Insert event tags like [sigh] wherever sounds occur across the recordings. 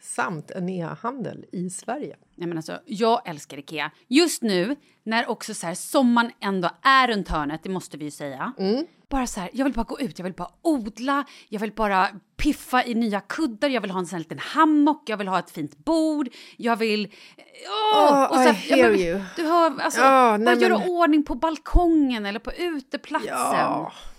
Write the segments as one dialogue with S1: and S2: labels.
S1: samt en e-handel i Sverige.
S2: Nej, men alltså, jag älskar Ikea. Just nu, när också så här, sommaren ändå är runt hörnet, det måste vi ju säga.
S1: Mm.
S2: Bara så här, jag vill bara gå ut, jag vill bara odla, jag vill bara piffa i nya kuddar, jag vill ha en sån här liten hammock, jag vill ha ett fint bord, jag vill... Åh!
S1: Oh,
S2: så här,
S1: I
S2: ja,
S1: hear
S2: men,
S1: you.
S2: Du hör, alltså,
S1: Ja,
S2: bara
S1: nej, men-
S2: göra ordning på balkongen eller på uteplatsen.
S1: Ja,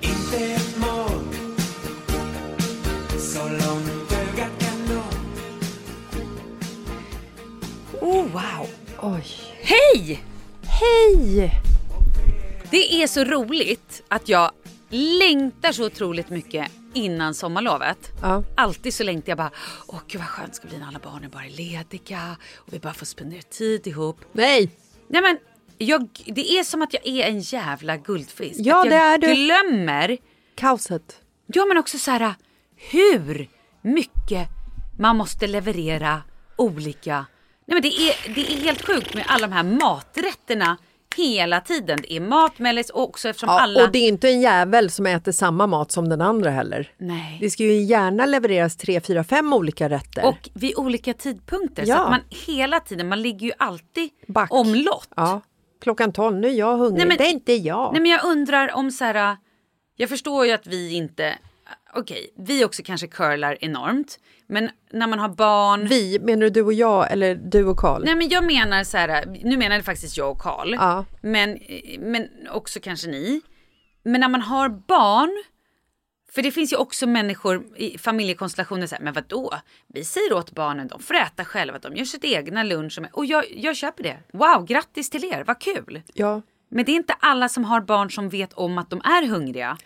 S3: Inte ett mål Så långt ögat kan nå
S4: Oh, wow!
S1: Oj.
S4: Hej!
S1: Hej!
S4: Det är så roligt att jag längtar så otroligt mycket innan sommarlovet.
S1: Ja.
S4: Alltid så längtar jag bara, åh gud vad skönt det ska bli när alla barnen bara är lediga och vi bara får spendera tid ihop.
S1: Nej!
S4: Nej men, jag, det är som att jag är en jävla guldfisk.
S1: Ja,
S4: att jag
S1: det är du.
S4: glömmer,
S1: Kaoset.
S4: ja men också så här hur mycket man måste leverera olika. Nej men det är, det är helt sjukt med alla de här maträtterna hela tiden. Det är mat, mellis och också eftersom
S1: Ja,
S4: alla...
S1: Och det är inte en jävel som äter samma mat som den andra heller.
S4: Nej.
S1: Det ska ju gärna levereras tre, fyra, fem olika rätter.
S4: Och vid olika tidpunkter. Så
S1: Ja.
S4: att man hela tiden, man ligger ju alltid
S1: Back.
S4: omlott.
S1: Ja, klockan tolv, nu är jag hungrig.
S4: Nej, men-
S1: det är inte jag.
S4: Nej men jag undrar om så här, jag förstår ju att vi inte, okej, vi också kanske curlar enormt. Men när man har barn.
S1: Vi, menar du du och jag eller du och Karl?
S4: Nej men jag menar så här, nu menar det faktiskt jag och Karl.
S1: Ja.
S4: Men, men också kanske ni. Men när man har barn. För det finns ju också människor i familjekonstellationer så här, men vadå? Vi säger åt barnen, de får äta själva, de gör sitt egna lunch. och- Och jag, jag köper det. Wow, grattis till er, vad kul.
S1: Ja.
S4: Men det är inte alla som har barn som vet om att de är hungriga.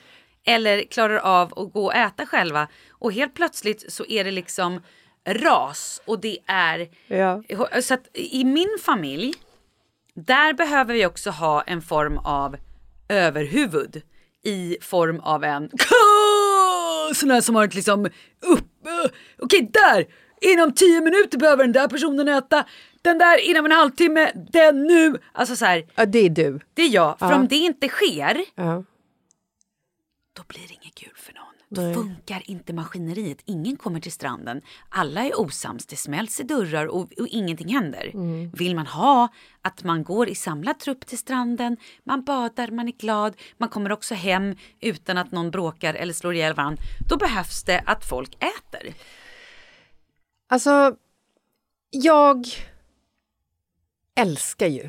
S4: Eller klarar av att gå och äta själva. Och helt plötsligt så är det liksom ras och det är...
S1: Ja.
S4: Så att i min familj, där behöver vi också ha en form av överhuvud. I form av en... Sån här som har ett liksom upp... eh, Okej, där! inom tio minuter behöver den där personen äta, den där inom en halvtimme, den nu. Alltså så här,
S1: Ja, det är du.
S4: det är jag. För om det inte sker,
S1: Ja.
S4: då blir det inget kul för någon. Då funkar inte maskineriet. Ingen kommer till stranden. Alla är osams. Det smälls i dörrar och, och ingenting händer. Vill man ha att man går i samlad trupp till stranden, man badar, man är glad, man kommer också hem utan att någon bråkar eller slår ihjäl varandra. Då behövs det att folk äter.
S1: Alltså, jag älskar ju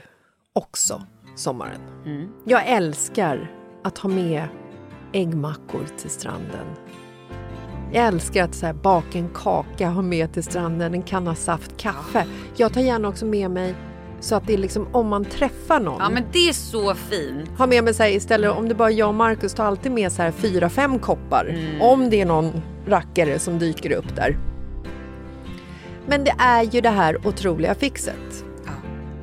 S1: också sommaren.
S4: Mm.
S1: Jag älskar att ha med äggmackor till stranden. Jag älskar att så här, baka en kaka, ha med till stranden, en kanna saft, kaffe. Jag tar gärna också med mig så att det är liksom om man träffar någon.
S4: Ja men det är så fint.
S1: Ha med mig så här, istället om det bara är jag och Markus, ta alltid med så här fyra, fem koppar. Om det är någon rackare som dyker upp där. Men det är ju det här otroliga fixet.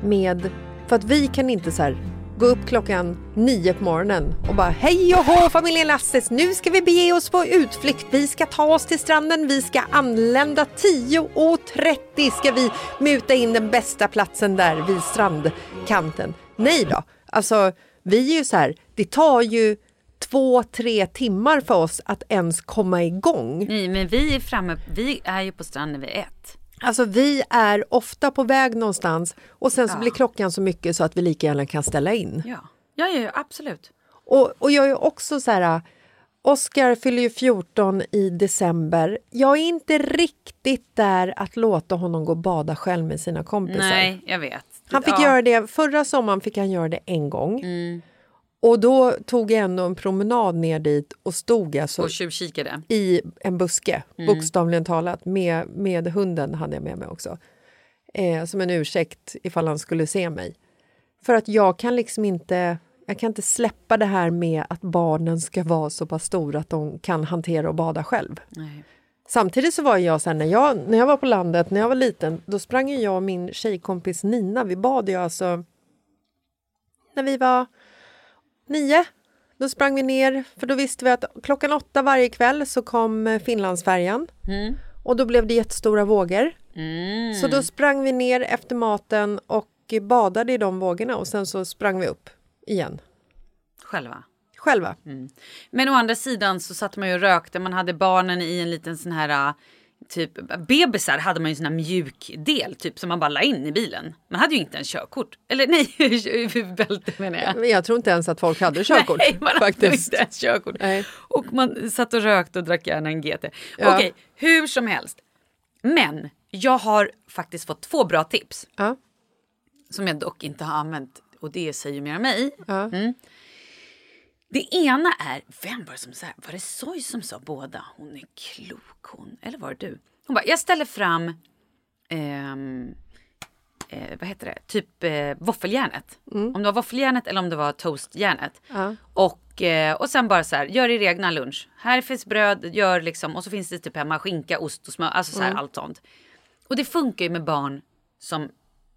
S1: Med, för att vi kan inte så här gå upp klockan nio på morgonen och bara hej och hå familjen Lasses, nu ska vi bege oss på utflykt. Vi ska ta oss till stranden, vi ska anlända 10.30 ska vi muta in den bästa platsen där vid strandkanten. Nej då, alltså vi är ju så här, det tar ju två, tre timmar för oss att ens komma igång.
S4: Nej men vi är framme, vi är ju på stranden vid ett.
S1: Alltså vi är ofta på väg någonstans och sen så blir klockan så mycket så att vi lika gärna kan ställa in.
S4: Ja, ja, ja, ja absolut.
S1: Och, och jag är också så här, Oscar fyller ju 14 i december. Jag är inte riktigt där att låta honom gå och bada själv med sina kompisar.
S4: Nej, jag vet.
S1: Han fick
S4: ja. Mm.
S1: göra det, förra sommaren fick han göra det en gång. Och då tog jag ändå en promenad ner dit och stod alltså
S4: Och tjuvkikade.
S1: i en buske, bokstavligen talat. Med, med hunden hade jag med mig också. Eh, som en ursäkt ifall han skulle se mig. För att jag kan liksom inte... Jag kan inte släppa det här med att barnen ska vara så pass stora att de kan hantera och bada själv.
S4: Nej.
S1: Samtidigt så var jag så här, när jag, när jag var på landet, när jag var liten, då sprang ju jag och min tjejkompis Nina, vi bad ju alltså när vi var nio. Då sprang vi ner, för då visste vi att klockan åtta varje kväll så kom eh, Finlandsfärjan. Och då blev det jättestora vågor. Så då sprang vi ner efter maten och badade i de vågorna och sen så sprang vi upp igen.
S4: Själva.
S1: Själva.
S4: Men å andra sidan så satt man ju och rökte, man hade barnen i en liten sån här äh, typ bebisar hade man ju sån här mjuk del typ som man bara la in i bilen. Man hade ju inte ens körkort. Eller nej, [laughs] bälte menar jag.
S1: Men jag tror inte ens att folk hade körkort.
S4: [laughs] Nej, man hade ju
S1: faktiskt.
S4: inte ens körkort.
S1: Nej.
S4: Och man satt och rökte och drack gärna en GT.
S1: Ja.
S4: Okej, hur som helst. Men jag har faktiskt fått två bra tips.
S1: Ja.
S4: som jag dock inte har använt och det säger ju mer om mig.
S1: Ja.
S4: Mm. Det ena är, vem var det som sa, var det Soy som sa båda? Hon är klok hon, eller var det du? Hon bara, jag ställer fram, ehm, eh, vad heter det, typ eh, våffeljärnet. Om det var våffeljärnet eller om det var toastjärnet.
S1: Mm. Ja.
S4: Och, eh, och sen bara så här, gör er egna lunch. Här finns bröd, gör liksom, och så finns det typ hemma skinka, ost och smör, alltså så här
S1: Mm.
S4: allt sånt. Och det funkar ju med barn som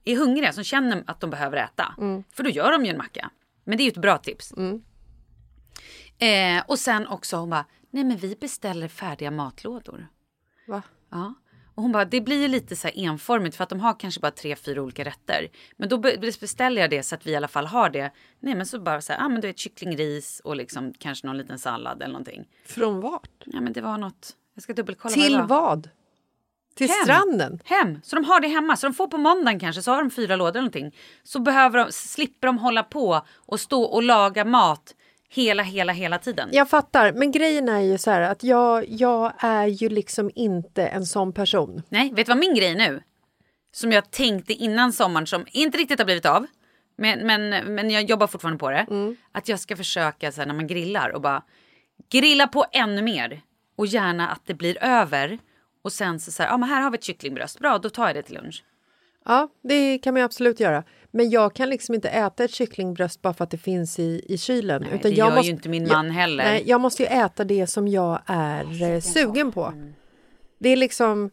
S4: är hungriga, som känner att de behöver äta. För då gör de ju en macka. Men det är ju ett bra tips. Eh, och sen också hon bara, nej men vi beställer färdiga matlådor.
S1: Va?
S4: Ja. Och hon bara, det blir ju lite så här enformigt för att de har kanske bara tre, fyra olika rätter. Men då be- beställer jag det så att vi i alla fall har det. Nej men så bara så här, ah, men du vet kycklingris och liksom kanske någon liten sallad eller någonting.
S1: Från vart?
S4: Ja men det var något, jag ska dubbelkolla
S1: Till
S4: vad det var.
S1: vad? Till
S4: Hem.
S1: stranden?
S4: Hem, så de har det hemma. Så de får på måndagen kanske, så har de fyra lådor eller någonting. Så behöver de, slipper de hålla på och stå och laga mat hela, hela, hela tiden.
S1: Jag fattar, men grejen är ju så här att jag, jag är ju liksom inte en sån person.
S4: Nej, vet du vad min grej är nu? Som jag tänkte innan sommaren som inte riktigt har blivit av. Men, men, men jag jobbar fortfarande på det.
S1: Mm.
S4: Att jag ska försöka så här, när man grillar och bara grilla på ännu mer. Och gärna att det blir över. Och sen så, så här, ja men här har vi ett kycklingbröst. Bra, då tar jag det till lunch.
S1: Ja, det kan man ju absolut göra. Men jag kan liksom inte äta ett kycklingbröst bara för att det finns i, i kylen.
S4: Nej, det gör ju inte min man heller.
S1: Nej, jag måste ju äta det som jag är eh, sugen på.
S4: Mm.
S1: Det är liksom...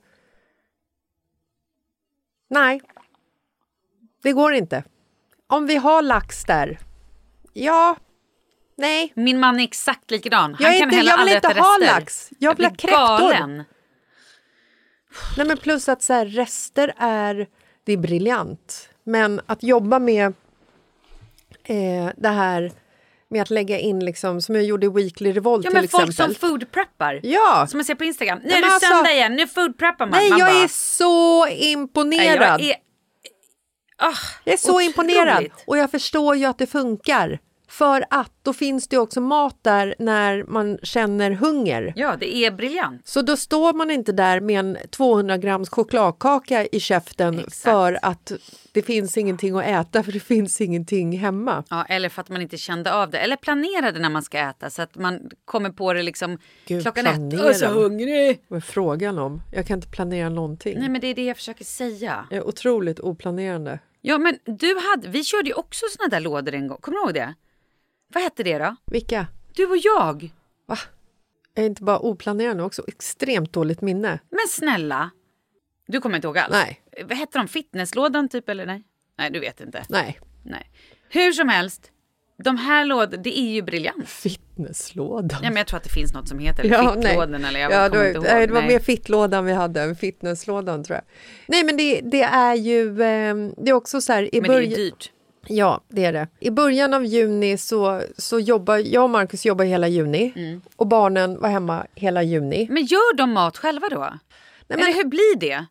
S1: Nej, det går inte. Om vi har lax där, ja, nej.
S4: Min man är exakt likadan. Han
S1: Jag, är
S4: kan
S1: inte,
S4: heller
S1: jag vill
S4: aldrig
S1: inte
S4: äta
S1: ha
S4: rester.
S1: lax. Jag vill ha
S4: blir
S1: kräftor.
S4: galen.
S1: Nej, men plus att så här, rester är... Det är briljant. Men att jobba med eh, det här med att lägga in, liksom, som jag gjorde i Weekly Revolt
S4: Ja
S1: till
S4: men folk
S1: exempel.
S4: som foodpreppar.
S1: Ja.
S4: Som man ser på Instagram. Nu
S1: Nej,
S4: är det
S1: men alltså-
S4: söndag igen, nu foodpreppar man.
S1: Nej,
S4: man
S1: jag
S4: bara,
S1: är så imponerad.
S4: Nej, jag är, Ah,
S1: Jag är så
S4: otroligt.
S1: imponerad och jag förstår ju att det funkar. För att då finns det ju också mat där när man känner hunger.
S4: Ja det är briljant.
S1: Så då står man inte där med en 200 grams chokladkaka i käften för att det finns ingenting att äta för det finns ingenting hemma.
S4: Ja, eller för att man inte kände av det. Eller planerade när man ska äta så att man kommer på det liksom
S1: Gud,
S4: klockan ett.
S1: planera.
S4: Jag är så hungrig.
S1: Vad är frågan om? Jag kan inte planera någonting.
S4: Nej men det är det jag försöker säga.
S1: Jag är otroligt oplanerande.
S4: Ja men du hade, vi körde ju också såna där lådor en gång. Kommer du ihåg det? Vad hette det då?
S1: Vilka?
S4: Du och jag.
S1: Va? Jag är inte bara oplanerande, jag har också extremt dåligt minne.
S4: Men snälla. Du kommer inte ihåg alls?
S1: Nej.
S4: Vad hette de? Fitnesslådan typ eller nej? Nej du vet inte.
S1: Nej.
S4: Nej. Hur som helst. De här lådorna, det är ju briljant.
S1: Fitnesslådan.
S4: Ja, men jag tror att det finns något som heter
S1: Ja,
S4: fittlådan
S1: nej.
S4: eller jag
S1: ja,
S4: kommer
S1: då-
S4: inte ihåg.
S1: nej, Det var
S4: Nej.
S1: mer fittlådan vi hade, fitnesslådan tror jag. Nej men det, det är ju, ehm, det är också så här i
S4: men det är ju
S1: början.
S4: dyrt.
S1: Ja, det är det. I början av juni så, så jobbar jag och Markus jobbar hela juni
S4: Mm.
S1: och barnen var hemma hela juni.
S4: Men gör de mat själva då?
S1: men-
S4: Eller hur blir det?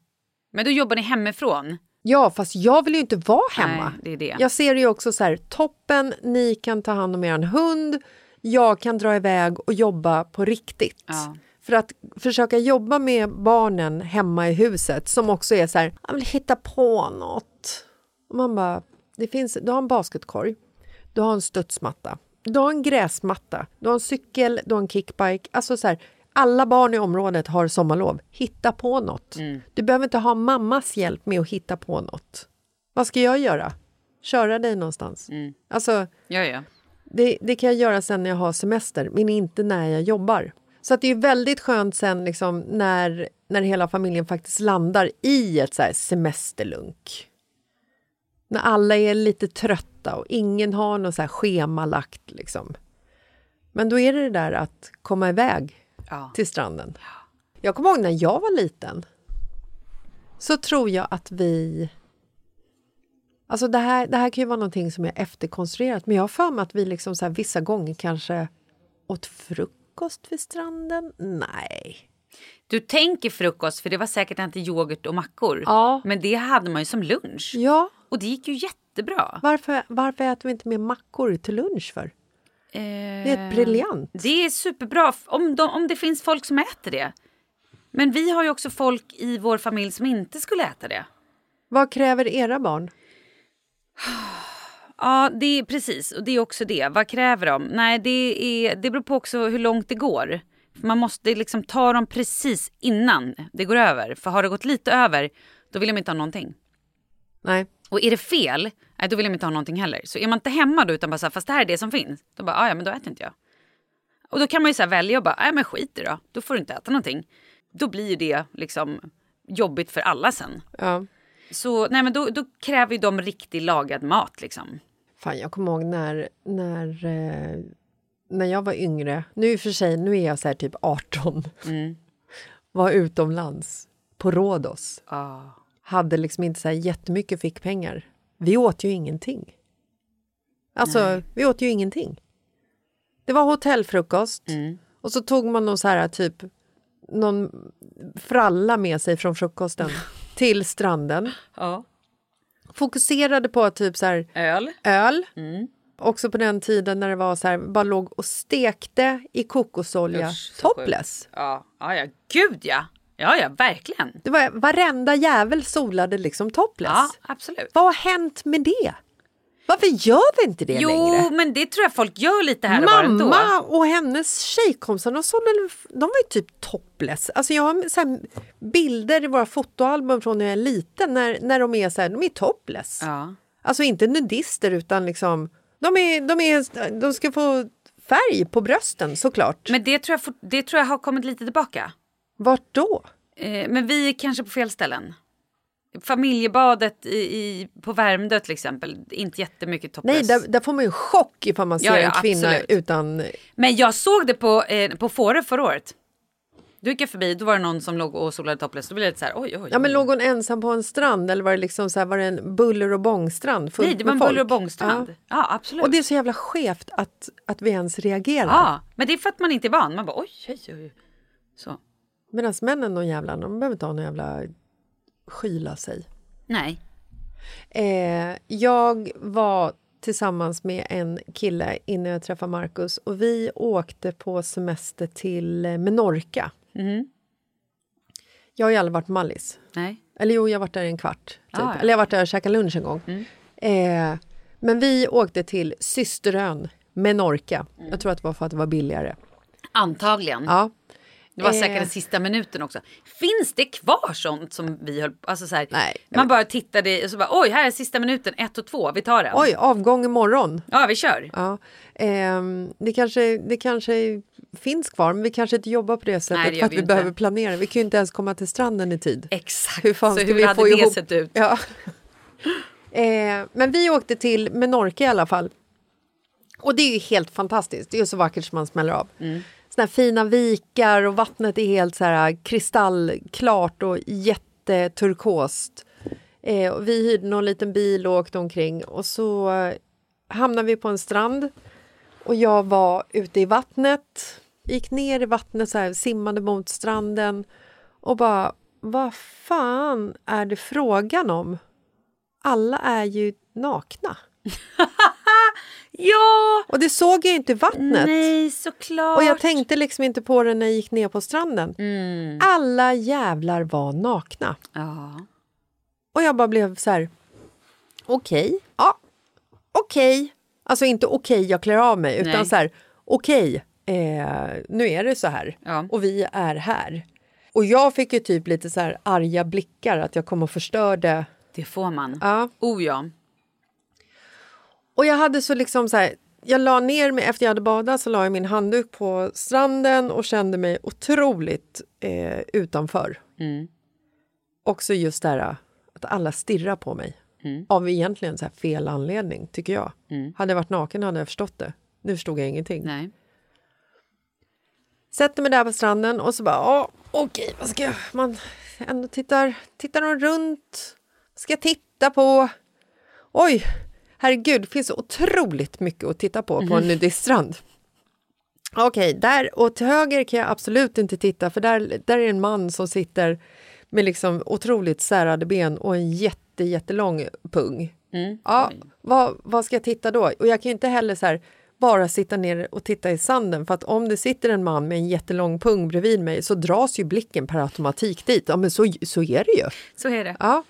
S4: Men då jobbar ni hemifrån?
S1: Ja, fast jag vill ju inte vara hemma.
S4: Nej, det är det.
S1: Jag ser det ju också så här, toppen, ni kan ta hand om er hund, jag kan dra iväg och jobba på riktigt.
S4: Ja.
S1: För att försöka jobba med barnen hemma i huset som också är så här, jag vill hitta på något. Och man bara, det finns, du har en basketkorg, du har en studsmatta, du har en gräsmatta, du har en cykel, du har en kickbike. Alltså så här, alla barn i området har sommarlov. Hitta på något. Du behöver inte ha mammas hjälp med att hitta på något. Vad ska jag göra? Köra dig någonstans? Alltså,
S4: Ja, ja.
S1: det, det kan jag göra sen när jag har semester, men inte när jag jobbar. Så att det är väldigt skönt sen liksom, när, när hela familjen faktiskt landar i ett så här semesterlunk. När alla är lite trötta och ingen har något så här schemalagt. Liksom. Men då är det det där att komma iväg
S4: Ja.
S1: till stranden. Jag kommer ihåg när jag var liten. Så tror jag att vi... Alltså det här, det här kan ju vara någonting som jag efterkonstruerat, men jag har för mig att vi liksom så här vissa gånger kanske åt frukost vid stranden? Nej.
S4: Du tänker frukost, för det var säkert inte yoghurt och mackor.
S1: Ja.
S4: Men det hade man ju som lunch.
S1: Ja,
S4: Och det gick ju jättebra.
S1: varför, varför äter vi inte mer mackor till lunch för? Det är ett briljant.
S4: Det är superbra f- om, de, om det finns folk som äter det. Men vi har ju också folk i vår familj som inte skulle äta det.
S1: Vad kräver era barn?
S4: Ja, det är precis. Och det är också det. Vad kräver de? Nej, det, är, det beror på också hur långt det går. För man måste liksom ta dem precis innan det går över. För har det gått lite över, då vill de inte ha någonting.
S1: Nej.
S4: Och är det fel, nej, då vill de inte ha någonting heller. Så är man inte hemma då utan bara så här, fast det här är det som finns. Då bara, "Ah, ja men då äter inte jag. Och då kan man ju så här välja och bara, nej men skit i det då. Då får du inte äta någonting. Då blir ju det liksom jobbigt för alla sen.
S1: Ja.
S4: Så nej men då, då kräver ju de riktig lagad mat liksom.
S1: Fan, jag kommer ihåg när, när, eh, när jag var yngre. Nu i och för sig, nu är jag så här typ 18. Var utomlands på Rhodos.
S4: Ah.
S1: Hade liksom inte så här jättemycket fickpengar. Vi åt ju ingenting. Alltså, vi åt ju ingenting. Det var hotellfrukost
S4: Mm.
S1: och så tog man någon så här typ någon fralla med sig från
S4: [laughs]
S1: frukosten till stranden.
S4: Ja.
S1: Fokuserade på typ så här
S4: Öl.
S1: öl.
S4: Mm.
S1: Också på den tiden när det var så här, bara låg och stekte i kokosolja
S4: Usch, så
S1: topless.
S4: Ja, ja, ja. Gud ja. Ja, ja, verkligen.
S1: Det var, varenda jävel solade liksom topless.
S4: Ja, absolut.
S1: Vad har hänt med det? Varför gör vi inte det
S4: Jo,
S1: längre?
S4: men det tror jag folk gör lite här och var ändå.
S1: Mamma och hennes tjejkompisar, de, sålde, de var ju typ topless. Alltså jag har så här bilder i våra fotoalbum från när jag är liten när, när de är så här, de är topless.
S4: Ja.
S1: Alltså inte nudister utan liksom, de, är, de, är, de ska få färg på brösten såklart.
S4: Men det tror, jag, fort- det tror jag har kommit lite tillbaka.
S1: Vart då?
S4: Eh, men vi är kanske på fel ställen. Familjebadet i, i, på Värmdö till exempel, inte jättemycket
S1: Nej,
S4: topless.
S1: där, där får man ju en chock ifall man ser
S4: Ja, ja,
S1: en kvinna
S4: absolut.
S1: utan...
S4: Men jag såg det på, eh, på Fårö förra året. Då gick jag förbi, då var det någon som låg och solade topless. Då blev jag lite så här, oj, oj.
S1: Ja, men
S4: oj.
S1: låg hon ensam på en strand eller var det, liksom så här, var det en buller och bångstrand? fullt
S4: Nej, det
S1: med
S4: var en buller
S1: folk?
S4: och bångstrand.
S1: Ja.
S4: Ja. absolut.
S1: Och det är så jävla skevt att, att vi ens reagerar.
S4: Ja, men det är för att man inte är van. Man bara oj, oj, oj. Så.
S1: Medan männen, de jävlarna, de behöver inte ha någon jävla skyla sig.
S4: Nej.
S1: Eh, jag var tillsammans med en kille innan jag träffade Markus och vi åkte på semester till eh, Menorca.
S4: Mm-hmm.
S1: Jag har ju aldrig varit Mallis.
S4: Nej.
S1: Eller jo, jag har varit där i en kvart. Typ.
S4: Ah, ja. Mm.
S1: Eller jag har varit där och käkat lunch en gång. Eh, men vi åkte till systerön Menorca.
S4: Mm.
S1: Jag tror att det var för att det var billigare.
S4: Antagligen.
S1: Ja.
S4: Det var
S1: Eh.
S4: säkert den sista minuten också. Finns det kvar sånt som vi höll alltså så här,
S1: Nej, jag
S4: Man bara tittade och så bara oj, här är sista minuten, ett och två, vi tar den.
S1: Oj, avgång imorgon.
S4: Ja, vi kör.
S1: Ja. Ehm, det, kanske, det kanske finns kvar, men vi kanske inte jobbar på det sättet
S4: Nej, det gör
S1: för att
S4: vi
S1: vi
S4: inte.
S1: behöver planera. Vi kan ju inte ens komma till stranden i tid.
S4: Exakt.
S1: Hur fan
S4: så
S1: ska
S4: hur
S1: vi
S4: hade
S1: få
S4: det
S1: ihop?
S4: sett ut?
S1: Ja. [laughs] eh, men vi åkte till Menorca i alla fall. Och det är ju helt fantastiskt. Det är ju så vackert som man smäller av. Mm. Såna här fina vikar och vattnet är helt så här äh, kristallklart och jätteturkost. Eh, och vi hyrde någon liten bil och åkte omkring och så eh, hamnade vi på en strand och jag var ute i vattnet. Gick ner i vattnet så här, simmade mot stranden och bara vad fan är det frågan om? Alla är ju nakna.
S4: Ja!
S1: Och det såg jag ju inte i vattnet.
S4: Nej, såklart.
S1: Och jag tänkte liksom inte på det när jag gick ner på stranden.
S4: Mm.
S1: Alla jävlar var nakna.
S4: Ja.
S1: Och jag bara blev så här... Okej. Ja, okej. Alltså inte okej, jag klär av mig, utan
S4: Nej.
S1: så här... Okej, eh, nu är det så här.
S4: Ja.
S1: Och vi är här. Och jag fick ju typ lite så här arga blickar, att jag kom och förstörde.
S4: Det får man.
S1: Ja.
S4: Oh ja.
S1: Och jag hade så liksom så här, jag la ner mig efter jag hade badat så la jag min handduk på stranden och kände mig otroligt eh, utanför. Också just det här att alla stirrar på mig. Av egentligen så här fel anledning, tycker jag. Hade jag varit naken hade jag förstått det. Nu förstod jag ingenting.
S4: Nej.
S1: Sätter mig där på stranden och så bara, ja, okej, vad ska jag... Man ändå tittar, tittar de runt? Vad ska jag titta på? Oj, herregud, det finns så otroligt mycket att titta på på en nudiststrand. Okej, där och till höger kan jag absolut inte titta för där, där är en man som sitter med liksom otroligt särade ben och en jätte, jättelång pung. Ja, vad, vad ska jag titta då? Och jag kan ju inte heller så här bara sitta ner och titta i sanden för att om det sitter en man med en jättelång pung bredvid mig så dras ju blicken per automatik dit. Ja, men så, så är det ju.
S4: Så är det.
S1: Ja.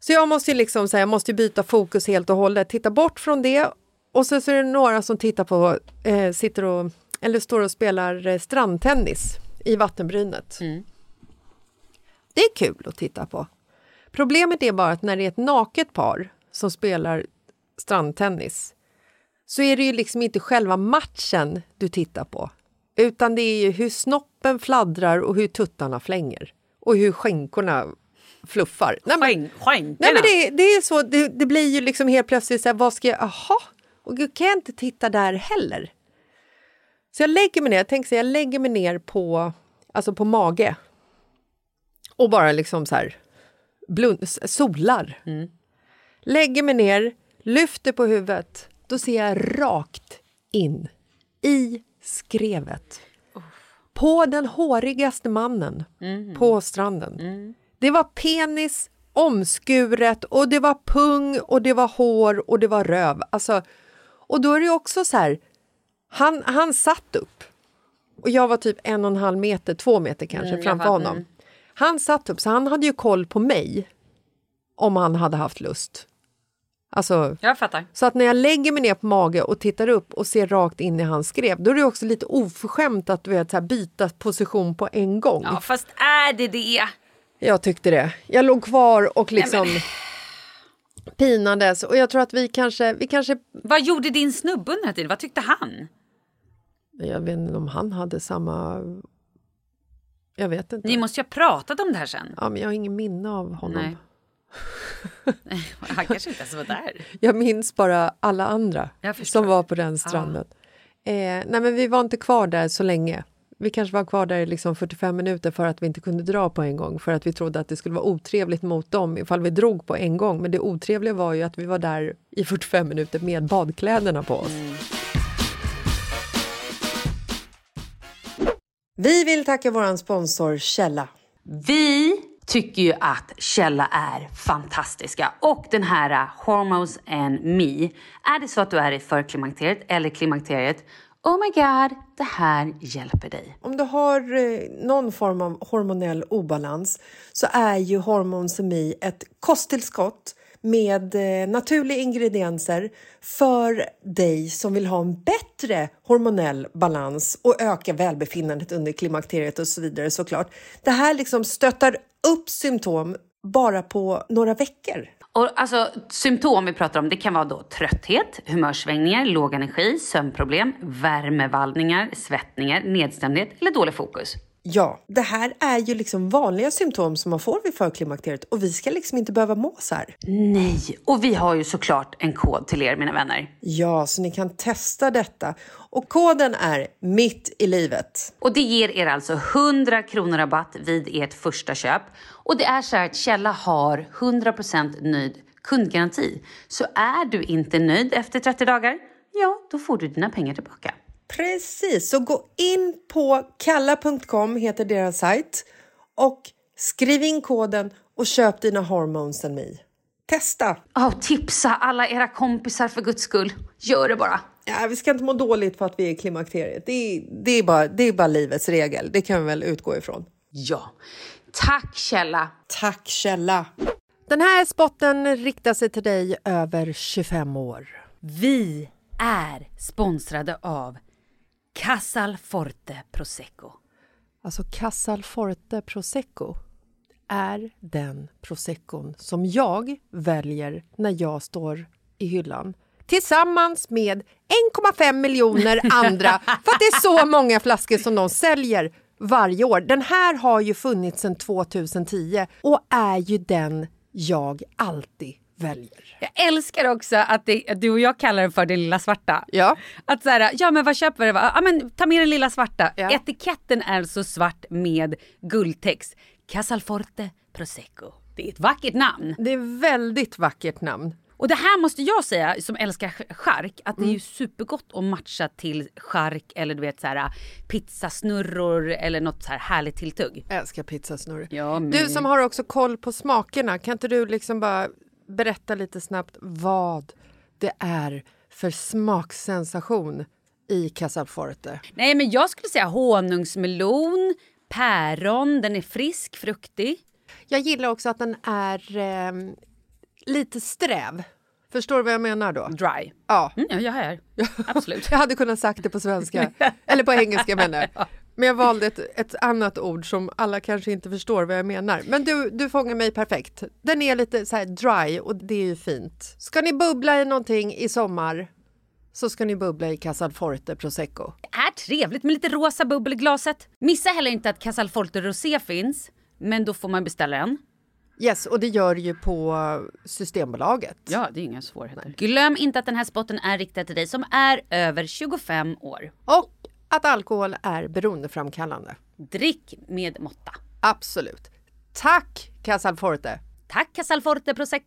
S1: Så jag måste ju liksom säga, jag måste ju byta fokus helt och hållet, titta bort från det. Och sen så är det några som tittar på, eh, sitter och, eller står och spelar eh, strandtennis i vattenbrynet. Det är kul att titta på. Problemet är bara att när det är ett naket par som spelar strandtennis så är det ju liksom inte själva matchen du tittar på utan det är ju hur snoppen fladdrar och hur tuttarna flänger och hur skänkorna fluffar. Nej, men,
S4: Skänk, skänkerna.
S1: nej, men det, det är så, det, det blir ju liksom helt plötsligt så här, vad ska jag, aha, och gud, kan jag inte titta där heller? Så jag lägger mig ner, jag tänker så här, jag lägger mig ner på, alltså på mage och bara liksom så här blund, solar. Lägger mig ner, lyfter på huvudet, då ser jag rakt in i skrevet. På den hårigaste mannen på stranden. Det var penis omskuret och det var pung och det var hår och det var röv. Alltså, och då är det ju också så här, han, han satt upp. Och jag var typ en och en halv meter, två meter kanske, framför
S4: fattar.
S1: honom. Han satt upp, så han hade ju koll på mig om han hade haft lust. Alltså,
S4: Jag fattar.
S1: så att när jag lägger mig ner på mage och tittar upp och ser rakt in i hans skrev, då är det också lite oförskämt att du vet, så här, byta position på en gång.
S4: Ja, fast är det det?
S1: Jag tyckte det. Jag låg kvar och liksom pinades. Och jag tror att vi kanske, vi kanske...
S4: Vad gjorde din snubbe under den här tiden? Vad tyckte han?
S1: Jag vet inte om han hade samma... Jag vet inte.
S4: Ni måste ju ha pratat om det här sen.
S1: Ja, men jag har ingen minne av honom.
S4: Nej. [laughs] Han kanske inte ens var där.
S1: Jag minns bara alla andra
S4: Jag förstår. Ah.
S1: som var på den stranden. Eh, nej, men vi var inte kvar där så länge. Vi kanske var kvar där i liksom 45 minuter för att vi inte kunde dra på en gång, för att vi trodde att det skulle vara otrevligt mot dem ifall vi drog på en gång. Men det otrevliga var ju att vi var där i 45 minuter med badkläderna på oss. Vi vill tacka vår sponsor Källa.
S4: Vi tycker ju att Källa är fantastiska. Och den här eh, Hormones and Me. Är det så att du är i förklimakteriet eller klimakteriet, oh my god, det här hjälper dig.
S1: Om du har eh, någon form av hormonell obalans så är ju hormonsemi ett kosttillskott med eh, naturliga ingredienser för dig som vill ha en bättre hormonell balans och öka välbefinnandet under klimakteriet och så vidare såklart. Det här liksom stöttar upp symptom bara på några veckor.
S4: Och alltså, symptom vi pratar om det kan vara då trötthet, humörsvängningar, låg energi, sömnproblem, värmevallningar, svettningar, nedstämdhet eller dålig fokus.
S1: Ja, det här är ju liksom vanliga symptom som man får vid förklimakteriet och vi ska liksom inte behöva må så här.
S4: Nej, och vi har ju såklart en kod till er mina vänner.
S1: Ja, så ni kan testa detta. Och koden är Mitt i livet.
S4: Och det ger er alltså 100 kronor rabatt vid ert första köp. Och det är så här att Källa har 100% nöjd kundgaranti. Så är du inte nöjd efter 30 dagar, ja då får du dina pengar tillbaka.
S1: Precis, så gå in på kalla.com heter deras sajt och skriv in koden och köp dina hormones and me. Testa!
S4: Ja, tipsa alla era kompisar för guds skull. Gör det bara.
S1: Ja, vi ska inte må dåligt för att vi är i klimakteriet. Det är, det, är bara, det är bara livets regel. Det kan vi väl utgå ifrån.
S4: Ja. Tack Källa.
S1: Tack Källa! Den här spotten riktar sig till dig över 25 år.
S2: Vi är sponsrade av Casal Forte Prosecco.
S1: Alltså Casal Forte Prosecco är den proseccon som jag väljer när jag står i hyllan tillsammans med 1,5 miljoner andra för att det är så många flaskor som de säljer varje år. Den här har ju funnits sedan 2010 och är ju den jag alltid väljer.
S2: Jag älskar också att, det, att du och jag kallar den för det lilla svarta.
S1: Ja.
S2: Att så här, ja men vad köper du? Ja men ta med den lilla svarta.
S1: Ja.
S2: Etiketten är alltså svart med guldtext. Casalforte Prosecco. Det är ett vackert namn.
S1: Det är väldigt vackert namn.
S2: Och det här måste jag säga som älskar ch- chark att
S1: Mm.
S2: det är ju supergott att matcha till chark eller du vet så här pizzasnurror eller något så här härligt tilltugg.
S1: Jag älskar pizzasnurr.
S2: Ja, men-
S1: Du som har också koll på smakerna, kan inte du liksom bara berätta lite snabbt vad det är för smaksensation i Casalforte?
S2: Nej men jag skulle säga honungsmelon, päron, den är frisk, fruktig.
S1: Jag gillar också att den är ehm, lite sträv. Förstår du vad jag menar då?
S2: Dry.
S1: Ja.
S2: Mm, ja, jag är. Absolut.
S1: [laughs] Jag hade kunnat sagt det på svenska, eller på engelska menar jag. Men jag valde ett, ett annat ord som alla kanske inte förstår vad jag menar. Men du, du fångar mig perfekt. Den är lite så här dry och det är ju fint. Ska ni bubbla i någonting i sommar så ska ni bubbla i Casalforte Prosecco.
S2: är trevligt med lite rosa bubbel i glaset. Missa heller inte att Casal Forte Rosé finns, men då får man beställa en.
S1: Yes, och det gör ju på Systembolaget.
S2: Ja, det är inga svårigheter. Glöm inte att den här spotten är riktad till dig som är över 25 år.
S1: Och att alkohol är beroendeframkallande.
S2: Drick med måtta.
S1: Absolut. Tack Casalforte!
S2: Tack Casal Forte Prosecco.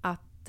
S1: att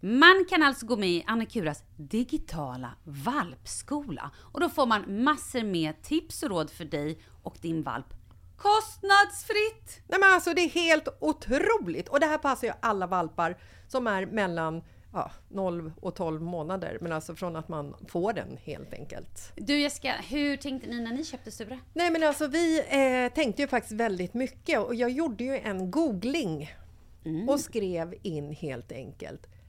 S2: Man kan alltså gå med i Annikuras digitala valpskola och då får man massor med tips och råd för dig och din valp kostnadsfritt.
S1: Nej men alltså det är helt otroligt! Och det här passar ju alla valpar som är mellan ja, 0 och 12 månader. Men alltså från att man får den helt enkelt.
S2: Du Jessica, hur tänkte ni när ni köpte Sture?
S1: Nej men alltså vi eh, tänkte ju faktiskt väldigt mycket och jag gjorde ju en googling och skrev in helt enkelt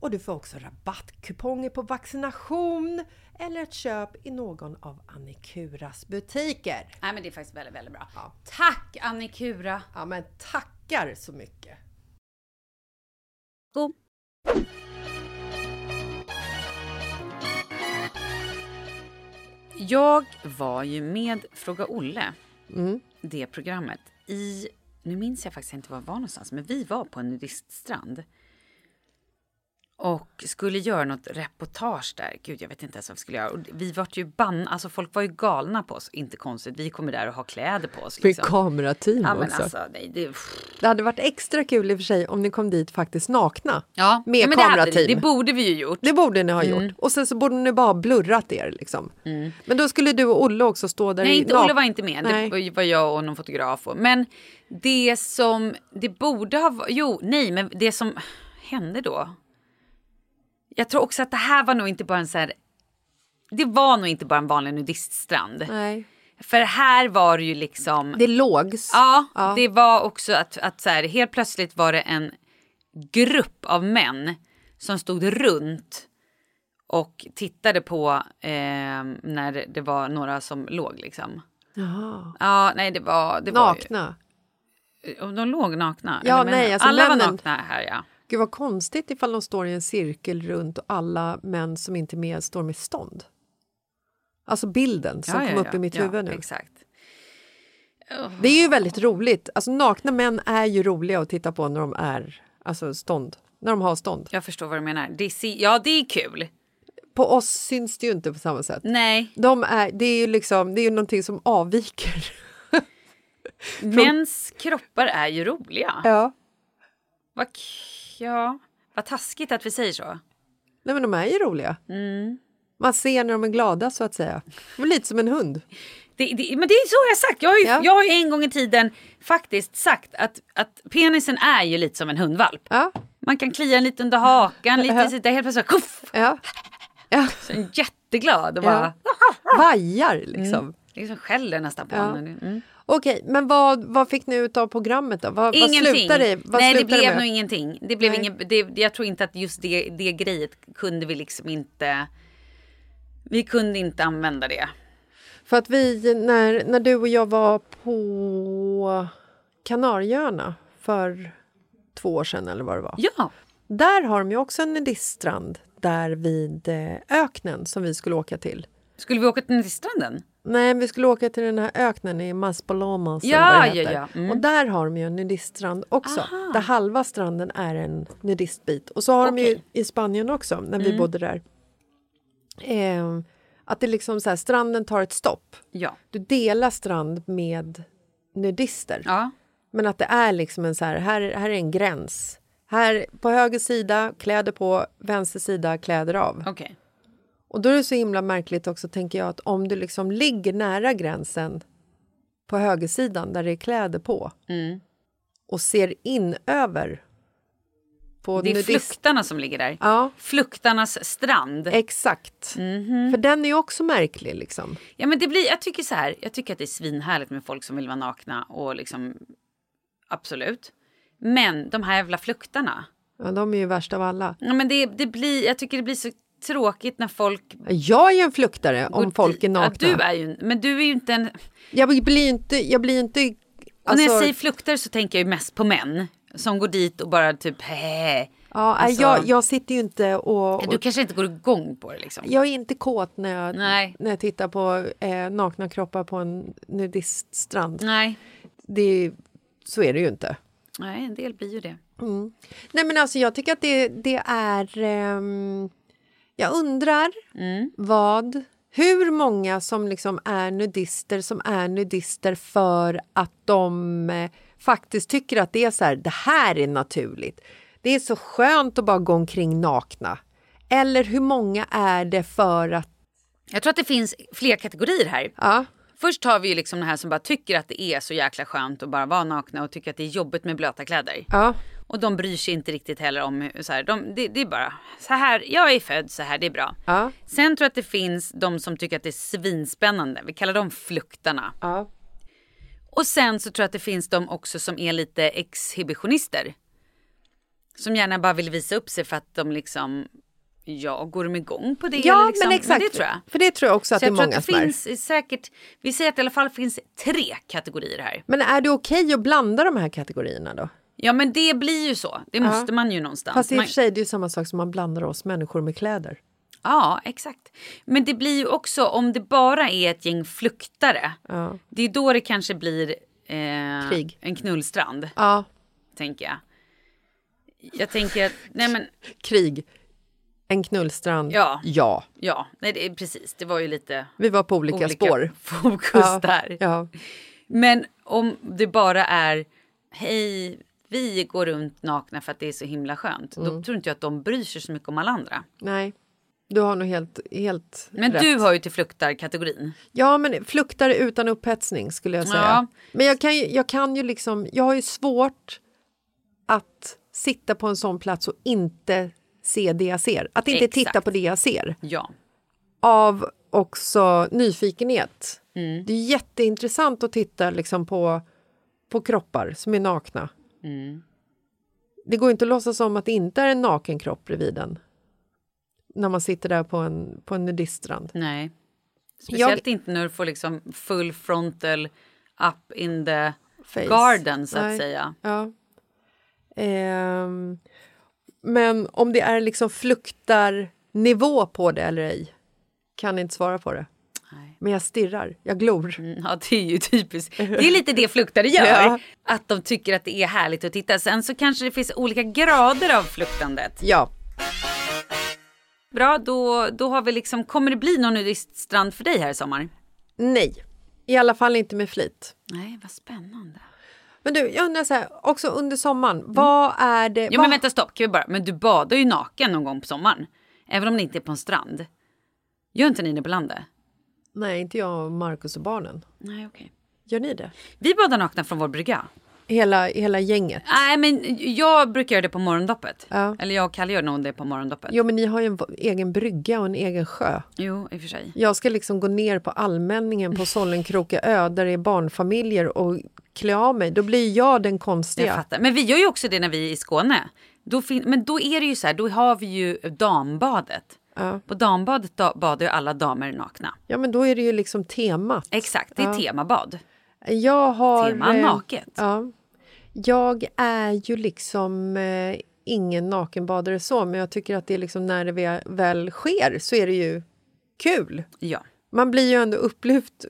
S1: Och du får också rabattkuponger på vaccination eller ett köp i någon av Annikuras butiker.
S2: Nej men det är faktiskt väldigt, väldigt bra. Tack Annikura!
S1: Ja men tackar så mycket!
S2: God.
S4: Jag var ju med Fråga Olle, det programmet, i... Nu minns jag faktiskt inte var jag var någonstans, men vi var på en nudiststrand. Och skulle göra något reportage där. Gud, jag vet inte ens vad vi skulle göra. Och vi vart ju bann... Alltså folk var ju galna på oss. Inte konstigt, vi kommer där och har kläder på oss. Liksom.
S1: kamerateam
S4: Ja, men alltså, nej, det...
S1: Det hade varit extra kul i och för sig om ni kom dit faktiskt nakna.
S4: Ja,
S1: med
S4: ja, men det, hade,
S1: kamerateam.
S4: vi.
S1: Det,
S4: det borde Mm. vi ju gjort.
S1: borde ni ha gjort. Och sen så borde ni bara ha blurrat er liksom. Men då skulle du och Olle också stå där
S4: Mm. Nej,
S1: i
S4: inte,
S1: nak-
S4: Olle var inte med.
S1: Nej.
S4: Det var jag och någon fotograf. Och, men det som det borde ha varit... Jo, nej, men det som hände då. Jag tror också att det här var nog inte bara en så här... Det var nog inte bara en vanlig nudiststrand.
S1: Nej.
S4: För här var det ju liksom...
S1: Det lågs.
S4: Ja, det var också att, att så här, helt plötsligt var det en grupp av män som stod runt och tittade på eh, när det var några som låg liksom.
S1: Jaha.
S4: Ja, nej det var... Det
S1: Nakna.
S4: Var ju, och de låg nakna.
S1: Ja,
S4: Eller, men
S1: nej, alltså
S4: alla var
S1: männen-
S4: nakna här ja.
S1: Gud vad konstigt ifall de står i en cirkel runt och alla män som inte är med står med stånd. Alltså bilden som
S4: ja,
S1: kom
S4: ja,
S1: upp
S4: ja,
S1: i mitt
S4: ja,
S1: huvud nu.
S4: Exakt.
S1: Det är ju väldigt roligt. Alltså, nakna män är ju roliga att titta på när de är alltså, stånd. När de har stånd.
S4: Jag förstår vad du menar. Det ser, ja, det är kul.
S1: På oss syns det ju inte på samma sätt.
S4: Nej,
S1: De är, det är ju liksom, det är ju någonting som
S4: [laughs]
S1: avviker.
S4: mäns kroppar är ju roliga.
S1: Ja.
S4: Vad, k- ja. Vad taskigt att vi säger så.
S1: Nej, men de är ju roliga.
S4: Mm.
S1: Man ser när de är glada, så att säga. De är lite som en hund.
S4: Det, det, men det är så jag har sagt. Jag har ju,
S1: Ja.
S4: jag har ju en gång i tiden faktiskt sagt att, att penisen är ju lite som en hundvalp.
S1: Ja,
S4: Man kan klia en lite under hakan, lite sitta helt plötsligt så, kuff,
S1: ja. ja.
S4: så är den jätteglad och
S1: ja.
S4: bara
S1: Vajar, liksom.
S4: liksom skäller nästan på
S1: Ja.
S4: honom. Mm.
S1: Okej, men vad, vad fick ni ut av programmet? då? Vad, vad
S4: Ingenting.
S1: slutade det, vad
S4: Nej, det
S1: slutade
S4: blev
S1: med?
S4: nog ingenting. Det blev
S1: Nej.
S4: ingen, det, jag tror inte att just det, det grejet kunde vi liksom inte... Vi kunde inte använda det.
S1: För att vi, när, när du och jag var på Kanarieöarna för två år sedan eller vad det var.
S4: Ja,
S1: Där har de ju också en nudiststrand där vid eh, öknen som vi skulle åka till.
S4: skulle vi åka till stranden?
S1: Nej, vi skulle åka till den här öknen i Maspalomas
S4: Ja,
S1: eller vad det
S4: ja,
S1: heter.
S4: ja, mm.
S1: Och där har de ju en nudiststrand också. Där halva stranden är en nudistbit. Och så har de ju
S4: Okej. Mm.
S1: i Spanien också, när vi bodde där. Eh, att det liksom så här, stranden tar ett stopp.
S4: Ja.
S1: Du delar strand med nudister.
S4: ja.
S1: Men att det är liksom en så här, här, här är en gräns. Här på höger sida kläder på, vänster sida kläder av.
S4: Okej.
S1: Och då är det så himla märkligt också, tänker jag, att om du liksom ligger nära gränsen på högersidan där det är kläder på
S4: Mm.
S1: och ser in över på
S4: Det är
S1: nudist-
S4: fluktarna som ligger där.
S1: Ja,
S4: Fluktarnas strand.
S1: exakt.
S4: Mhm.
S1: För den är ju också märklig liksom.
S4: Ja, men det blir, jag tycker så här, jag tycker att det är svinhärligt med folk som vill vara nakna och liksom absolut. Men de här jävla fluktarna.
S1: Ja, de är ju värst av alla.
S4: Ja, men det, det blir, jag tycker det blir så tråkigt när folk...
S1: Jag är ju en fluktare om
S4: går
S1: folk är
S4: dit.
S1: nakna.
S4: Ja, du är ju, men du är ju inte en...
S1: Jag blir ju inte... Jag blir ju inte
S4: Och när jag
S1: alltså-
S4: säger fluktar så tänker jag ju mest på män som går dit och bara typ hä.
S1: Ja, nej,
S4: Alltså-
S1: jag, jag sitter ju inte och...
S4: Du kanske inte går igång på det liksom.
S1: Jag är inte kåt när jag,
S4: Nej.
S1: när jag tittar på eh, nakna kroppar på en nudiststrand.
S4: Nej.
S1: Det är, så är det ju inte.
S4: Nej, en del blir ju det.
S1: Nej, men alltså, jag tycker att det, det är... ehm, jag undrar
S4: Mm.
S1: vad... Hur många som liksom är nudister som är nudister för att de eh, faktiskt tycker att det är så här, det här är naturligt. Det är så skönt att bara gå omkring nakna. Eller hur många är det för att...
S4: Jag tror att det finns fler kategorier här.
S1: Ja,
S4: Först har vi ju liksom den här som bara tycker att det är så jäkla skönt att bara vara nakna och tycker att det är jobbigt med blöta kläder.
S1: ja.
S4: Och de bryr sig inte riktigt heller om hur, så här, de, det, det är bara så här, jag är född så här, det är bra.
S1: Ja.
S4: Sen tror jag att det finns de som tycker att det är svinspännande, vi kallar dem fluktarna.
S1: Ja.
S4: Och sen så tror jag att det finns de också som är lite exhibitionister. Som gärna bara vill visa upp sig för att de liksom, ja, går de igång på det? eller
S1: Ja,
S4: liksom,
S1: men exakt.
S4: Det tror jag.
S1: För det tror jag också att
S4: Så
S1: det är
S4: jag tror att
S1: många
S4: det
S1: som är.
S4: finns säkert, vi säger att det i alla fall finns tre kategorier här.
S1: Men är det okej att blanda de här kategorierna då?
S4: Ja men det blir ju så, det måste man ju någonstans.
S1: Fast i och
S4: man,
S1: för sig, det är ju samma sak som man blandar oss människor med kläder.
S4: Ja exakt. Men det blir ju också om det bara är ett gäng flyktare.
S1: Ja.
S4: Det är då det kanske blir eh,
S1: Krig.
S4: en knullstrand
S1: Ja,
S4: tänker jag. Jag tänker att, nej men
S1: krig. En knullstrand.
S4: Ja. ja, nej det är precis, det var ju lite
S1: Vi var på olika, spår.
S4: [laughs] fokus
S1: Ja,
S4: där.
S1: Ja.
S4: Men om det bara är hej, vi går runt nakna för att det är så himla skönt.
S1: Mm.
S4: Då tror inte jag att de bryr sig så mycket om alla andra.
S1: Nej, du har nog helt, helt
S4: Men
S1: rätt.
S4: du har ju till fluktarkategorin.
S1: Ja, men fluktare utan upphetsning skulle jag säga.
S4: Ja.
S1: Men jag kan, ju, jag kan ju liksom, jag har ju svårt att sitta på en sån plats och inte se det jag ser. Att inte titta
S4: Exakt.
S1: på det jag ser.
S4: Ja.
S1: av också nyfikenhet. Det är jätteintressant att titta liksom på, på kroppar som är nakna. Det går inte att låtsas som att det inte är en naken kropp bredvid en när man sitter där på en, på en nudiststrand.
S4: Nej. Speciellt inte när du får liksom full frontal up in the
S1: Face.
S4: garden så att
S1: Nej.
S4: säga.
S1: Ja. Ehm, men om det är liksom fluktar nivå på det eller ej kan inte svara på det.
S4: Nej. Mm,
S1: Men jag stirrar, jag glor.
S4: Ja, det är ju typiskt. Det är lite det fluktare gör.
S1: Ja.
S4: Att de tycker att det är härligt att titta. Sen så kanske det finns olika grader av fluktandet.
S1: Ja,
S4: Bra, då, då har vi liksom, kommer det bli någon nudiststrand för dig här i sommar?
S1: nej. I alla fall inte med flit.
S4: Nej, vad spännande.
S1: Men du, jag undrar så här, också under sommaren, vad är det...
S4: Jo
S1: vad,
S4: men vänta stopp, kan vi bara, men du badar ju naken någon gång på sommaren. Även om det inte är på en strand. Gör inte ni det på landet?
S1: Nej, inte jag, Markus och barnen.
S4: Nej okej.
S1: Gör ni det?
S4: Vi badar nakna från vår brygga.
S1: Hela, hela gänget?
S4: Nej men jag brukar göra det på morgondoppet.
S1: Ja.
S4: Eller jag och Kalle gör nog det på morgondoppet.
S1: Jo, men ni har ju en v- egen brygga och en egen sjö.
S4: Jo, i och för sig.
S1: Jag ska liksom gå ner på allmänningen på Sollenkroka ö där det är barnfamiljer och klä av mig. Då blir jag den
S4: Jag
S1: konstiga.
S4: fattar. Men vi gör ju också det när vi är i Skåne. Då fin- men då är det ju så här, då har vi ju dambadet.
S1: Ja.
S4: På dambadet da- badar ju alla damer nakna.
S1: Ja, men då är det ju liksom temat.
S4: Exakt, det är temabad.
S1: Jag har...
S4: Tema
S1: eh,
S4: naket.
S1: Ja. Jag är ju liksom eh, ingen nakenbadare så, men jag tycker att det är liksom när det vä- väl sker så är det ju kul.
S4: Ja,
S1: Man blir ju ändå upplyft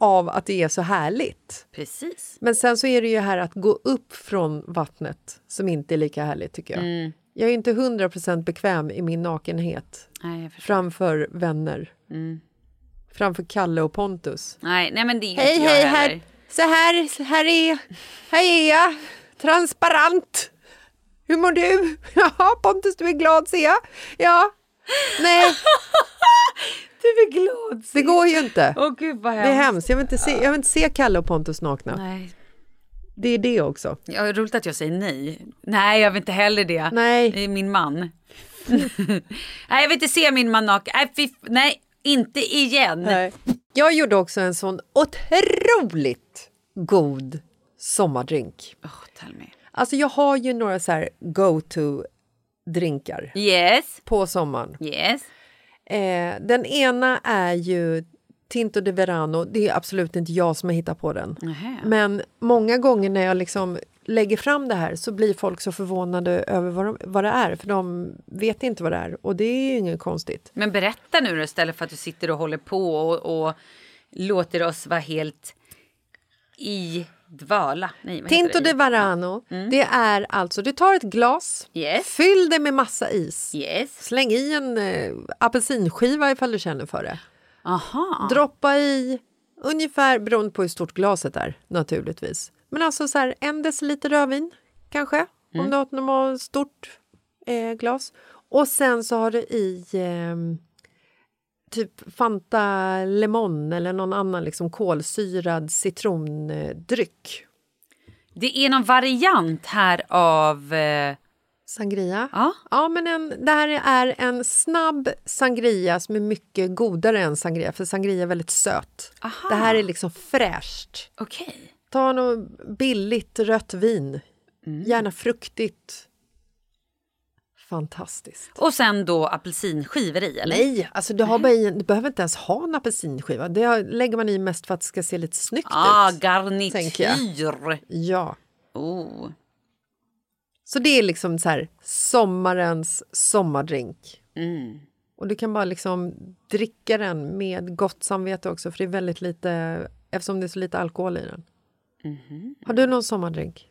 S1: av att det är så härligt.
S4: precis.
S1: Men sen så är det ju här att gå upp från vattnet som inte är lika härligt tycker jag. Jag är inte 100% bekväm i min nakenhet
S4: Nej, jag förstår.
S1: framför vänner. Framför Kalle och Pontus.
S4: Nej, nej men det är ju
S1: Hej
S4: inte jag
S1: hej,
S4: heller.
S1: här, så här, så här, är, här är jag, transparent. Hur mår du? [laughs] Jaha Pontus, du är glad ser jag. Ja. Nej,
S4: Du är glad.
S1: det går ju
S4: [laughs]
S1: inte.
S4: Åh gud vad
S1: Det är hemskt.
S4: hemskt.
S1: Jag vill inte se, jag vill inte se Kalle och Pontus nakna.
S4: Nej,
S1: Det är det också.
S4: ja, roligt att jag säger nej. Nej, jag vill inte heller det.
S1: Nej.
S4: Det är min man. [laughs] nej, jag vill inte se min man naken. Nej, fy, nej, inte igen.
S1: Nej. Jag gjorde också en sån otroligt god sommardrink.
S4: Åh, tell me.
S1: Alltså jag har ju några så här go-to-drinkar
S4: Yes,
S1: på sommaren.
S4: yes.
S1: Eh, den ena är ju Tinto de Verano. Det är absolut inte jag som har hittat på den.
S4: Nähä.
S1: Men många gånger när jag liksom lägger fram det här så blir folk så förvånade över vad, de, vad det är, för de vet inte vad det är. Och det är ju inget konstigt.
S4: Men berätta nu då istället för att du sitter och håller på och, och låter oss vara helt i dvala. Nej, vad heter
S1: Tinto
S4: det? Mm.
S1: de Verano, det är alltså, du tar ett glas,
S4: Yes.
S1: fyll det med massa is,
S4: Yes.
S1: släng i en eh, apelsinskiva ifall du känner för det.
S4: Aha.
S1: Droppa i ungefär, beroende på hur stort glaset är naturligtvis. Men alltså så här en deciliter rödvin kanske,
S4: Mm.
S1: om du har ett normalt stort eh, glas. Och sen så har du i ehm, typ Fanta Lemon eller någon annan liksom kolsyrad citrondryck.
S4: Det är någon variant här av... Eh,
S1: Sangria.
S4: ja.
S1: Ja, men en, det här är en snabb sangria som är mycket godare än sangria, för sangria är väldigt söt.
S4: Aha.
S1: Det här är liksom fräscht.
S4: Okej.
S1: Ta något billigt rött vin.
S4: Mm.
S1: Gärna fruktigt. Fantastiskt.
S4: Och sen då apelsinskivor i, eller?
S1: Nej, alltså du, har bara i, en- du behöver inte ens ha en apelsinskiva. Det har- lägger man i mest för att det ska se lite snyggt
S4: Ah,
S1: ut. tänker
S4: garnityr!
S1: Ja.
S4: Oh.
S1: Så det är liksom så här sommarens sommardrink.
S4: Mm.
S1: Och du kan bara liksom dricka den med gott samvete också för det är väldigt lite, eftersom det är så lite alkohol i den.
S4: Mhm.
S1: Har du någon sommardrink?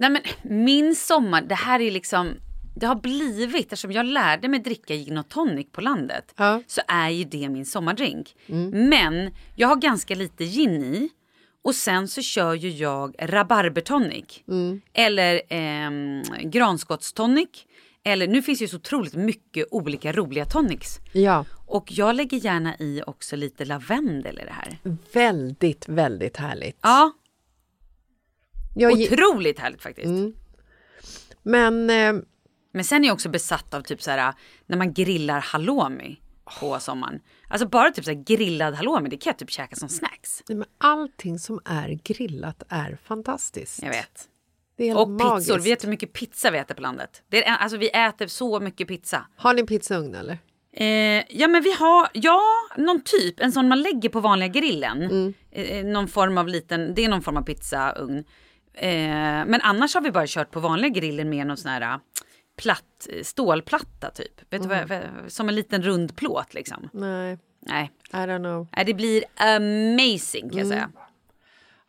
S4: Nej, men min sommar, det här är liksom... Det har blivit, eftersom jag lärde mig dricka gin och tonic på landet,
S1: Ja.
S4: så är ju det min sommardrink.
S1: Mm.
S4: Men jag har ganska lite gin i. Och sen så kör ju jag rabarbertonic.
S1: Mm.
S4: Eller ehm, granskottstonic. Eller, nu finns ju så otroligt mycket olika roliga tonics.
S1: Ja.
S4: Och jag lägger gärna i också lite lavendel i det här.
S1: Mm. Väldigt, väldigt härligt.
S4: Ja,
S1: Jag ge- Mm.
S4: otroligt härligt faktiskt.
S1: Men eh,
S4: Men sen är jag också besatt av typ så här när man grillar halloumi på sommaren. Alltså bara typ så här grillad halloumi, det kan jag typ käka som snacks.
S1: nej, men allting som är grillat är fantastiskt.
S4: Jag vet.
S1: Det är helt
S4: Och
S1: magiskt.
S4: pizzor, vet du hur mycket pizza vi äter på landet? Det är, alltså vi äter så mycket pizza.
S1: Har ni pizzaugn eller?
S4: Eh, ja men vi har, ja någon typ, en sån man lägger på vanliga grillen.
S1: Mm.
S4: Eh, någon form av liten, det är någon form av pizzaugn. Eh, men annars har vi bara kört på vanliga grillen med någon sån här platt, stålplatta typ. Vet du vad,
S1: Mm.
S4: jag- som en liten rund plåt liksom.
S1: Nej,
S4: Nej,
S1: I don't know.
S4: Nej, det blir amazing
S1: Mm.
S4: kan jag säga.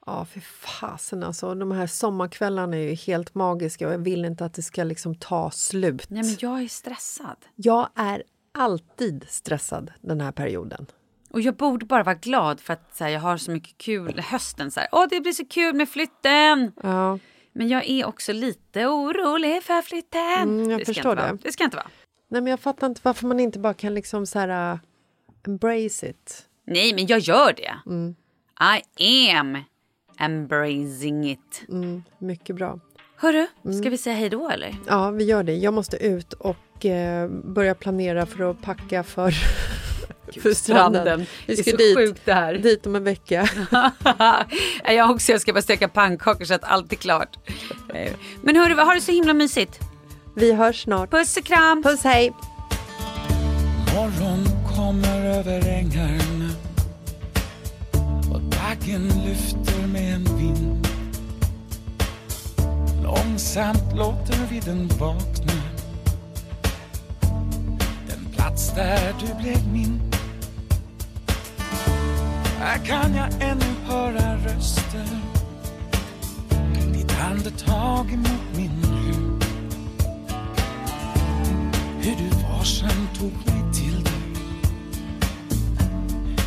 S1: Ja, för fasen alltså. De här sommarkvällarna är ju helt magiska och jag vill inte att det ska liksom ta slut.
S4: Nej men jag är stressad.
S1: Jag är alltid stressad den här perioden.
S4: Och jag borde bara vara glad för att så här, jag har så mycket kul hösten. Så här, Åh det blir så kul med flytten!
S1: Ja,
S4: Men jag är också lite orolig för flytten.
S1: Mm, jag
S4: det ska
S1: förstår
S4: inte vara.
S1: det.
S4: Det ska jag inte vara.
S1: nej men jag fattar inte varför man inte bara kan liksom så här uh, embrace it.
S4: Nej men jag gör det.
S1: Mm.
S4: I am embracing it.
S1: Mm. Mycket bra.
S4: Hörru,
S1: Mm.
S4: ska vi säga hej då eller?
S1: Ja, vi gör det. Jag måste ut och eh, börja planera för att packa för, [laughs] för stranden.
S4: stranden.
S1: Vi
S4: Det är
S1: ska
S4: så
S1: dit,
S4: sjukt det här.
S1: dit om en vecka.
S4: Nej, [laughs] jag också, jag ska bara steka pannkakor så att allt är klart. Nej. Men hörru, ha det så himla mysigt.
S1: [laughs] Vi hörs snart.
S4: Puss och kram!
S1: Puss, hej!
S3: Morgon kommer över ängarna och dagen lyfter med en vind. Långsamt låter vi den vakna. Den plats där du blev min. Här kan jag ännu höra röster. Ditt andetag emot min hud. Hur du varsamt tog mig till dig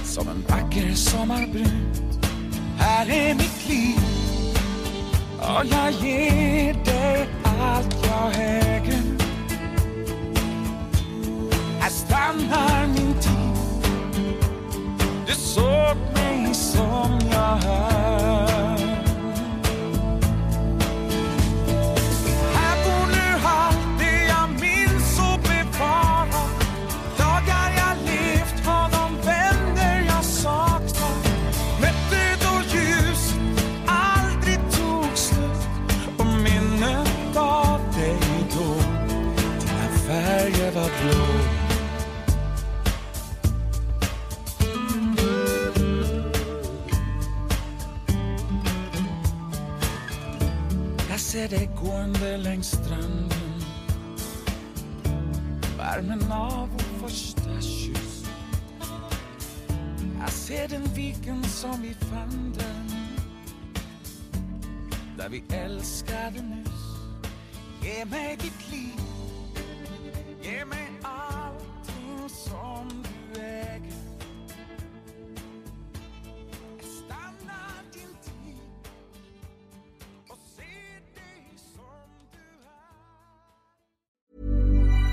S3: Som en vacker sommarbrud Här är mitt liv Och jag ger dig allt jag äger Här stannar min tid Du såg mig som jag är Här bor nu allt det jag minns och bevarar Dagar jag levt, har de vänner jag saknar Mötte då ljus aldrig tog slut och minnet av dig då dina färger var blå Jag ser dig gående längs stranden Värmen av vår första kyss Jag ser den viken som vi fann den Där vi älskade nyss Ge mig ditt liv Ge mig allting som du äger Jag stannar din tid och ser dig som du är